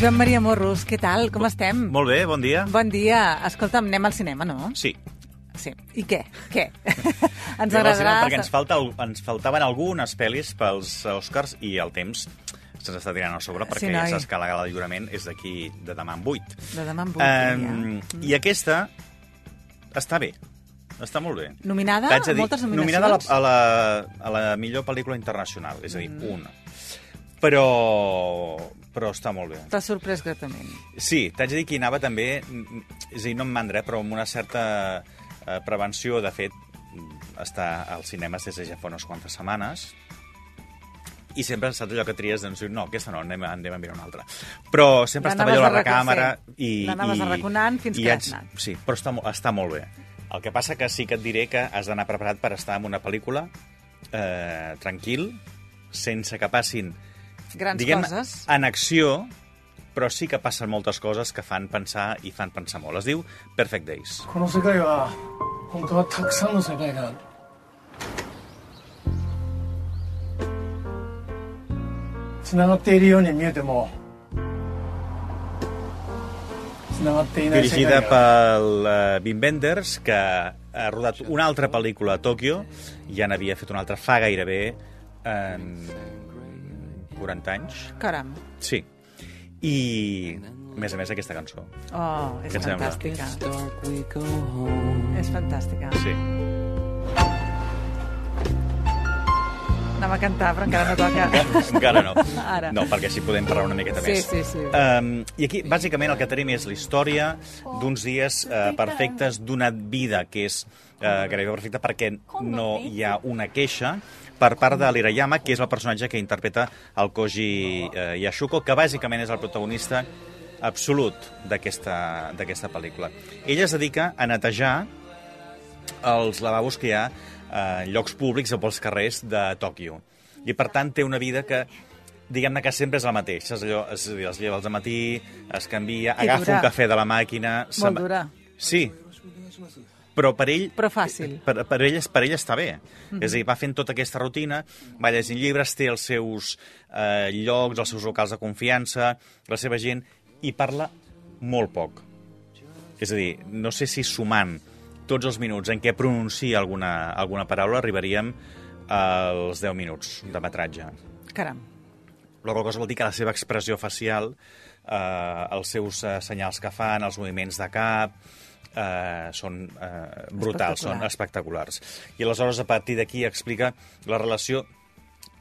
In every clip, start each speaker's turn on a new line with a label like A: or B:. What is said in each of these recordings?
A: Joan Maria Morros, què tal? Com estem?
B: Molt bé, bon dia.
A: Bon dia. Escolta'm, anem al cinema, no?
B: Sí.
A: Sí. I què? Què? ens
B: Anem al cinema
A: agradarà...
B: Perquè ens, falta, al- ens faltaven algunes pel·lis pels Oscars i el temps se'ns està tirant a sobre perquè
A: Sí,
B: ja
A: noi.
B: saps que la gala de lliurament és d'aquí de demà en 8.
A: De demà en vuit, ja. Mm.
B: I aquesta està bé. Està molt bé.
A: Nominada
B: T'haig de
A: a moltes
B: nominada a la,
A: nominacions.
B: a, la, a la millor pel·lícula internacional, és a dir, mm. una. Però, però està molt bé.
A: T'ha sorprès gratament.
B: Sí, t'haig de dir que hi anava també, mm, és a dir, no amb mandra, però amb una certa eh, prevenció. De fet, mm, està als cinemes des de ja fa unes quantes setmanes i sempre saps allò que tries, doncs, dius, no, aquesta no, anem, a- anem a mirar una altra. Però sempre estava
A: L'anaves
B: allò a la
A: arraconant,
B: recàmera...
A: sí.
B: i
A: L'anaves
B: i-
A: arraconant fins
B: i
A: que
B: haig-
A: has anat.
B: Sí, però està, mo- està molt bé. El que passa que sí que et diré que has d'anar preparat per estar en una pel·lícula eh, tranquil, sense que passin
A: Grans
B: diguem,
A: coses.
B: en acció, però sí que passen moltes coses que fan pensar i fan pensar molt. Es diu Perfect Days.
C: この世界は本当はたくさんの世界があるつながっているように見えてもつながっていない世界が
B: Dirigida
C: ある
B: pel eh, Wim Wenders, que ha rodat una altra pel·lícula a Tòquio, ja n'havia fet una altra fa gairebé eh, 40 anys.
A: Caram.
B: Sí. I, a més a més, aquesta cançó.
A: Oh, és
B: Què et sembla?
A: fantàstica. És fantàstica.
B: Sí.
A: Anava a cantar, però encara no toca.
B: Encara no.
A: Ara.
B: No, perquè així podem parlar una miqueta
A: Sí,
B: més.
A: sí, sí.
B: Um, I aquí, bàsicament, el que tenim és la història d'uns dies uh, perfectes d'una vida que és uh, gairebé perfecta perquè no hi ha una queixa per part de l'Irayama, que és el personatge que interpreta el Koji uh, Yashuko, que bàsicament és el protagonista absolut d'aquesta d'aquesta pel·lícula. Ella es dedica a netejar els lavabos que hi ha eh, en llocs públics o pels carrers de Tòquio. I, per tant, té una vida que diguem-ne que sempre és el mateix. És allò, és a dir, es lleva al matí, es canvia,
A: I
B: agafa
A: dura.
B: un cafè de la màquina... se'n va-
A: dura.
B: Sí, però per ell...
A: Però fàcil. Mhm.
B: Per, per, ell, per ell està bé. Mm -hmm. És a dir, va fent tota aquesta rutina, va llegint llibres, té els seus eh, llocs, els seus locals de confiança, la seva gent, i parla molt poc. És a dir, no sé si sumant tots els minuts en què pronuncia alguna, alguna paraula arribaríem als 10 minuts de metratge.
A: Caram.
B: La qual cosa vol dir que la seva expressió facial, eh, els seus eh, senyals que fan, els moviments de cap, eh, són eh, brutals, són espectaculars. I aleshores, a partir d'aquí, explica la relació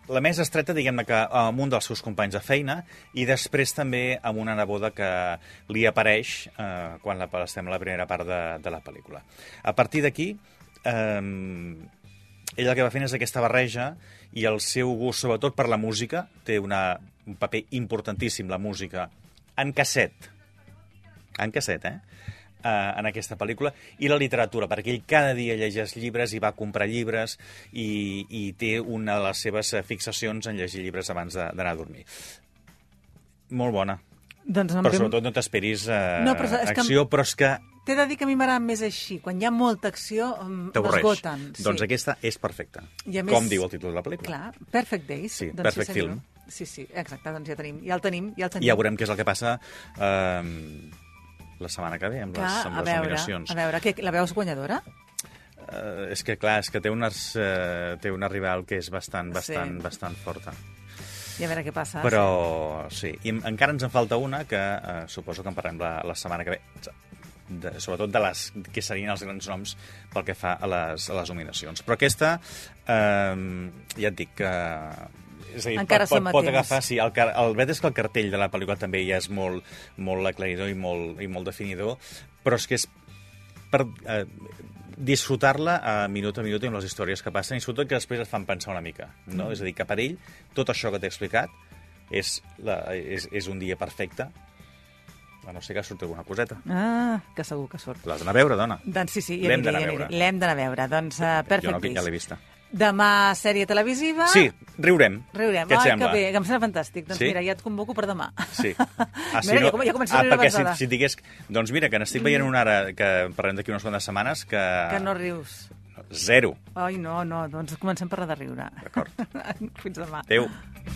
B: la més estreta, diguem-ne, que amb un dels seus companys de feina i després també amb una neboda que li apareix eh, quan la, estem a la primera part de, de la pel·lícula. A partir d'aquí, eh, ella el que va fent és aquesta barreja i el seu gust, sobretot per la música, té una, un paper importantíssim, la música, en casset, en casset, eh? eh, en aquesta pel·lícula, i la literatura, perquè ell cada dia llegeix llibres i va a comprar llibres i, i té una de les seves eh, fixacions en llegir llibres abans de- d'anar a dormir. Molt bona,
A: Doncs no em
B: però
A: ve-
B: sobretot no t'esperis eh,
A: No, però és que-
B: acció, però és que
A: T'he de dir que a mi m'agraden més així. Quan hi ha molta acció, em-
B: t'avorreix.
A: m'esgoten. Sí.
B: Doncs aquesta és perfecta,
A: I a més-
B: com diu el títol de la pel·lícula.
A: Clar, Perfect Days.
B: Sí,
A: doncs
B: Perfect
A: senyor.
B: Film.
A: Sí, sí, exacte, doncs ja tenim. Ja el tenim, ja el tenim.
B: Ja veurem què és el que passa eh, la setmana que ve amb
A: que,
B: les, amb
A: a
B: les
A: veure,
B: nominacions.
A: a veure, què, la veus guanyadora?
B: Eh, és que, clar, és que té, unes, eh, té una rival que és bastant,
A: Sí. Ah,
B: bastant, bastant forta.
A: I a veure què passa.
B: Però sí, i en- encara ens en falta una que eh, suposo que en parlem la, la setmana que ve, de, sobretot de les que serien els grans noms pel que fa a les, a les nominacions. Però aquesta, eh, ja et dic que... És a dir,
A: Encara
B: pot,
A: som a
B: pot, pot
A: temps.
B: agafar, sí, el, car- el vet és que el cartell de la pel·lícula també ja és molt, molt aclaridor i molt, i molt definidor, però és que és per eh, disfrutar-la a minut a minut i amb les històries que passen i sobretot que després et fan pensar una mica. No? Mm. És a dir, que per ell tot això que t'he explicat és, la, és, és un dia perfecte, a no sé que surti alguna coseta.
A: Ah, que segur que surt.
B: L'has d'anar a veure, dona.
A: Doncs sí, sí, ja
B: L'hem
A: aniré,
B: d'anar a
A: ja aniré.
B: veure.
A: L'hem d'anar a veure. Doncs uh,
B: jo
A: Perfect
B: no, ja l'he
A: Days.
B: vista.
A: Demà sèrie televisiva.
B: Sí, riurem.
A: Riurem.
B: Què et
A: Ai,
B: sembla?
A: que bé, que em sembla fantàstic. Doncs
B: Sí?
A: mira, ja et convoco per demà.
B: Sí.
A: Ah, sí, mira, ja, com- ja començo
B: ah,
A: a riure
B: perquè si,
A: avançada.
B: si et digués... Doncs mira, que n'estic veient una ara, que parlem d'aquí unes quantes setmanes, que...
A: Que no rius.
B: Zero.
A: Ai, no, no, doncs comencem per la de riure.
B: D'acord.
A: Fins demà.
B: Adéu.